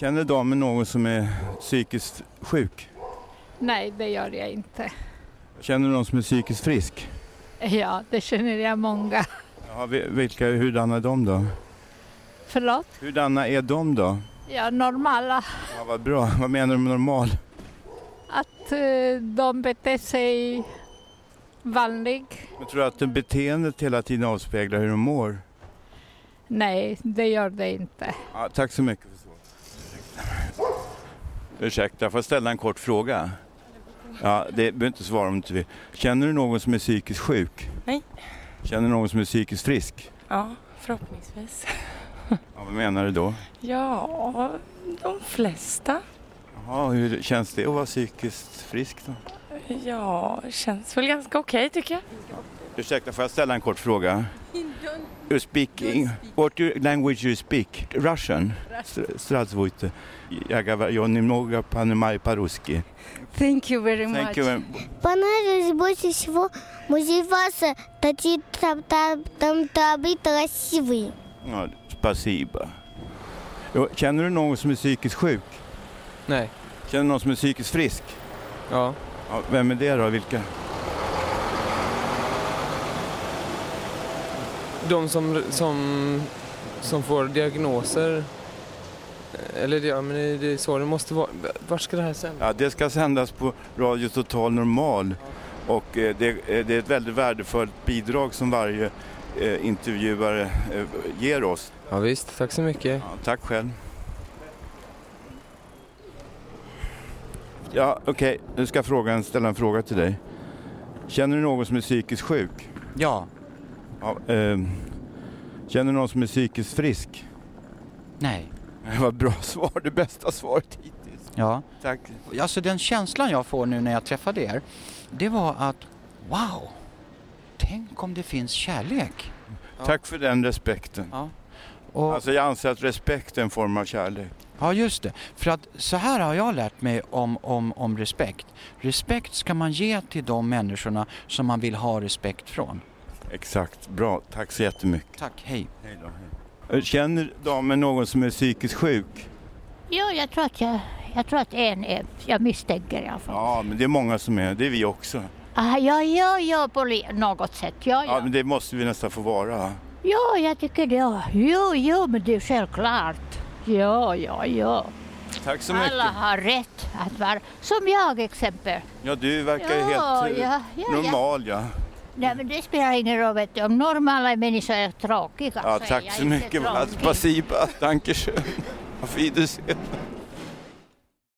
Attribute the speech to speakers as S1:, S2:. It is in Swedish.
S1: Känner damen någon som är psykiskt sjuk?
S2: Nej, det gör jag inte.
S1: Känner du någon som är psykiskt frisk?
S2: Ja, det känner jag många.
S1: Jaha, vi- vilka, hurdana är de då?
S2: Förlåt?
S1: Hurdana är de då?
S2: Ja, normala.
S1: Ja, vad bra, vad menar du med normal?
S2: Att eh, de beter sig vanligt.
S1: Jag tror du att det beteendet hela tiden avspeglar hur de mår?
S2: Nej, det gör det inte.
S1: Ja, tack så mycket för svaret. Ursäkta, får jag ställa en kort fråga? Ja, det behöver inte svara om du inte vill. Känner du någon som är psykiskt sjuk?
S3: Nej.
S1: Känner du någon som är psykiskt frisk?
S3: Ja, förhoppningsvis.
S1: Ja, vad menar du då?
S3: Ja, de flesta.
S1: Jaha, hur känns det att vara psykiskt frisk då?
S3: Ja, känns väl ganska okej tycker jag.
S1: Ursäkta, får jag ställa en kort fråga? You speak, in, what your language you speak? Russian? Str- Strasvojte. Jag говорю немного понимаю по-русски.
S3: Thank you very
S1: Thank you. very-
S4: Понравилось больше всего музей Васа. Такие там, там, там, там, и красивые.
S1: Ja, spasiba. Jo, Känner du någon som är psykiskt sjuk?
S5: Nej.
S1: Känner du någon som är psykiskt frisk?
S5: Ja.
S1: Ja, vem är det då? Vilka?
S5: De som, som, som får diagnoser. eh, Eller det- ja, men det det är så det måste vara. Vart ska det här sändas?
S1: Ja, det ska sändas på Radio Total Normal och eh, det, eh, det är ett väldigt värdefullt bidrag som varje eh, intervjuare eh, ger oss.
S5: Ja, visst, tack så mycket.
S1: Ja, tack själv. Ja, okej, nu ska jag fråga, ställa en fråga till dig. Känner du någon som är psykiskt sjuk?
S6: Ja.
S1: Ja, ehm, känner du någon som är psykiskt frisk?
S6: Nej.
S1: Vad bra svar, det bästa svaret hittills.
S6: Ja.
S1: Tack.
S6: Alltså den känslan jag får nu när jag träffade er, det var att wow, tänk om det finns kärlek.
S5: Ja.
S1: Tack för den respekten.
S6: Och,
S1: Alltså jag anser att respekt är en form av kärlek.
S6: ja just det, för att så här har jag lärt mig om, om, om respekt. Respekt ska man ge till de människorna som man vill ha respekt från.
S1: Exakt, bra. Tack så jättemycket.
S6: Tack, hej.
S1: Hej då, Känner damen någon som är psykiskt sjuk?
S7: Ja, jag tror att, jag, jag tror att en är, jag misstänker i alla fall.
S1: Ja, men det är många som är. Det är vi också.
S7: Ah, ja, ja, ja, på li- något sätt.
S1: Ja,
S7: Ja, ja.
S1: men det måste vi nästan få vara.
S7: ja, jag tycker det. ja. Jo, jo, men det är självklart. Ja, ja, ja.
S1: Tack så
S7: Alla
S1: mycket.
S7: har rätt att vara, som jag exempel.
S1: Ja, du
S7: Ja,
S1: verkar ju helt eh,
S7: ja, ja, ja.
S1: normal, ja.
S7: Nej, men det spelar ingen roll, vet du. Om normala människor är tråkiga
S1: Ja,
S7: så är
S1: tack
S7: jag
S1: så
S7: inte
S1: mycket.
S7: tråkig.
S1: Spasiba, dankeschön. Auf Wiedersehen.